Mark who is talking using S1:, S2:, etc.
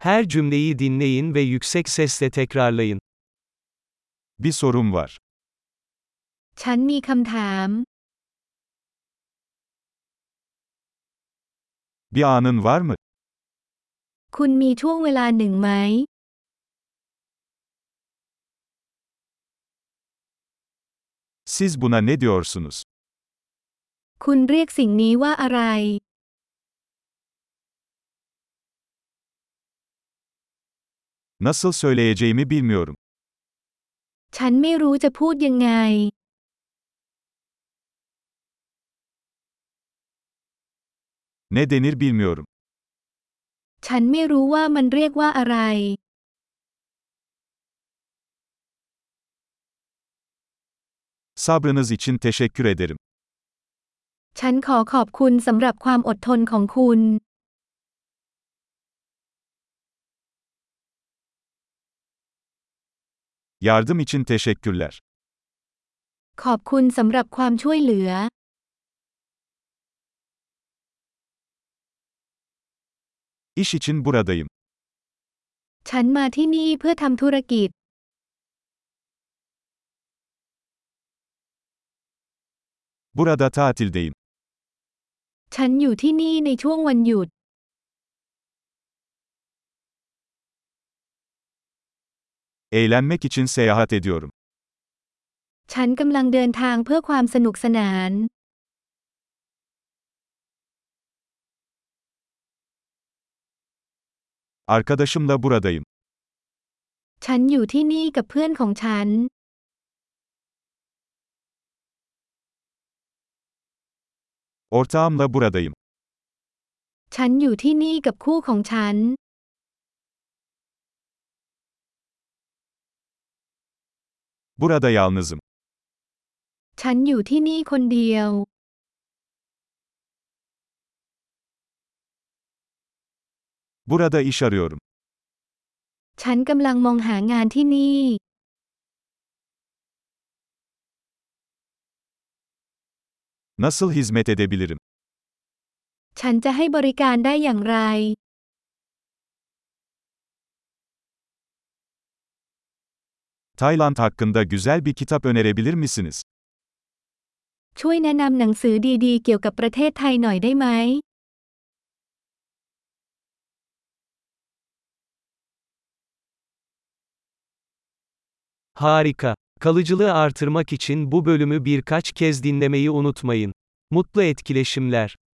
S1: Her cümleyi dinleyin ve yüksek sesle tekrarlayın.
S2: Bir sorum var.
S3: ฉันมีคำถาม
S2: Bir anın var mı?
S3: คุณมีช่วงเวลาหนึ่งไหม
S2: Siz buna ne diyorsunuz?
S3: คุณเรียกสิ่งนี้ว่าอะไร
S2: Nasıl söyleyeceğimi bilmiyorum.
S3: ฉันไม่รู้จะพูดยังไง
S2: Ne denir bilmiyorum.
S3: ฉันไม่รู้ว่ามันเรียกว่าอะไร
S2: Sabrınız için teşekkür ederim.
S3: ฉันขอขอบคุณสำหรับความอดทนของคุณ
S2: Yardım için teşekkürler.
S3: ขอบคุณสำหรับความช่วยเหลือ
S2: İş için buradayım.
S3: ฉันมาที่นี่เพื่อทำธุรกิจ
S2: Burada tatildeyim.
S3: ฉันอยู่ที่นี่ในช่วงวันหยุด
S2: Eğlenmek için seyahat ediyorum.
S3: ฉันกำลังเดินทางเพื่อความสนุกสนาน
S2: Arkadaşımla buradayım.
S3: ฉันอยู่ที่นี่กับเพื่อนของฉัน
S2: Ortağımla buradayım.
S3: ฉันอยู่ที่นี่กับคู่ของฉัน
S2: Burada yalnızım.
S3: ฉันอยู่ที่นี่คนเดียว
S2: Burada iş arıyorum.
S3: ฉันกำลังมองหางานที่นี่
S2: Nasıl hizmet edebilirim?
S3: ฉันจะให้บริการได้อย่างไร
S2: Tayland hakkında güzel bir kitap önerebilir misiniz?
S3: ช่วยแนะนำหนังสือดีๆ เกี่ยวกับประเทศไทยหน่อยได้ไหม
S1: Harika. Kalıcılığı artırmak için bu bölümü birkaç kez dinlemeyi unutmayın. Mutlu etkileşimler.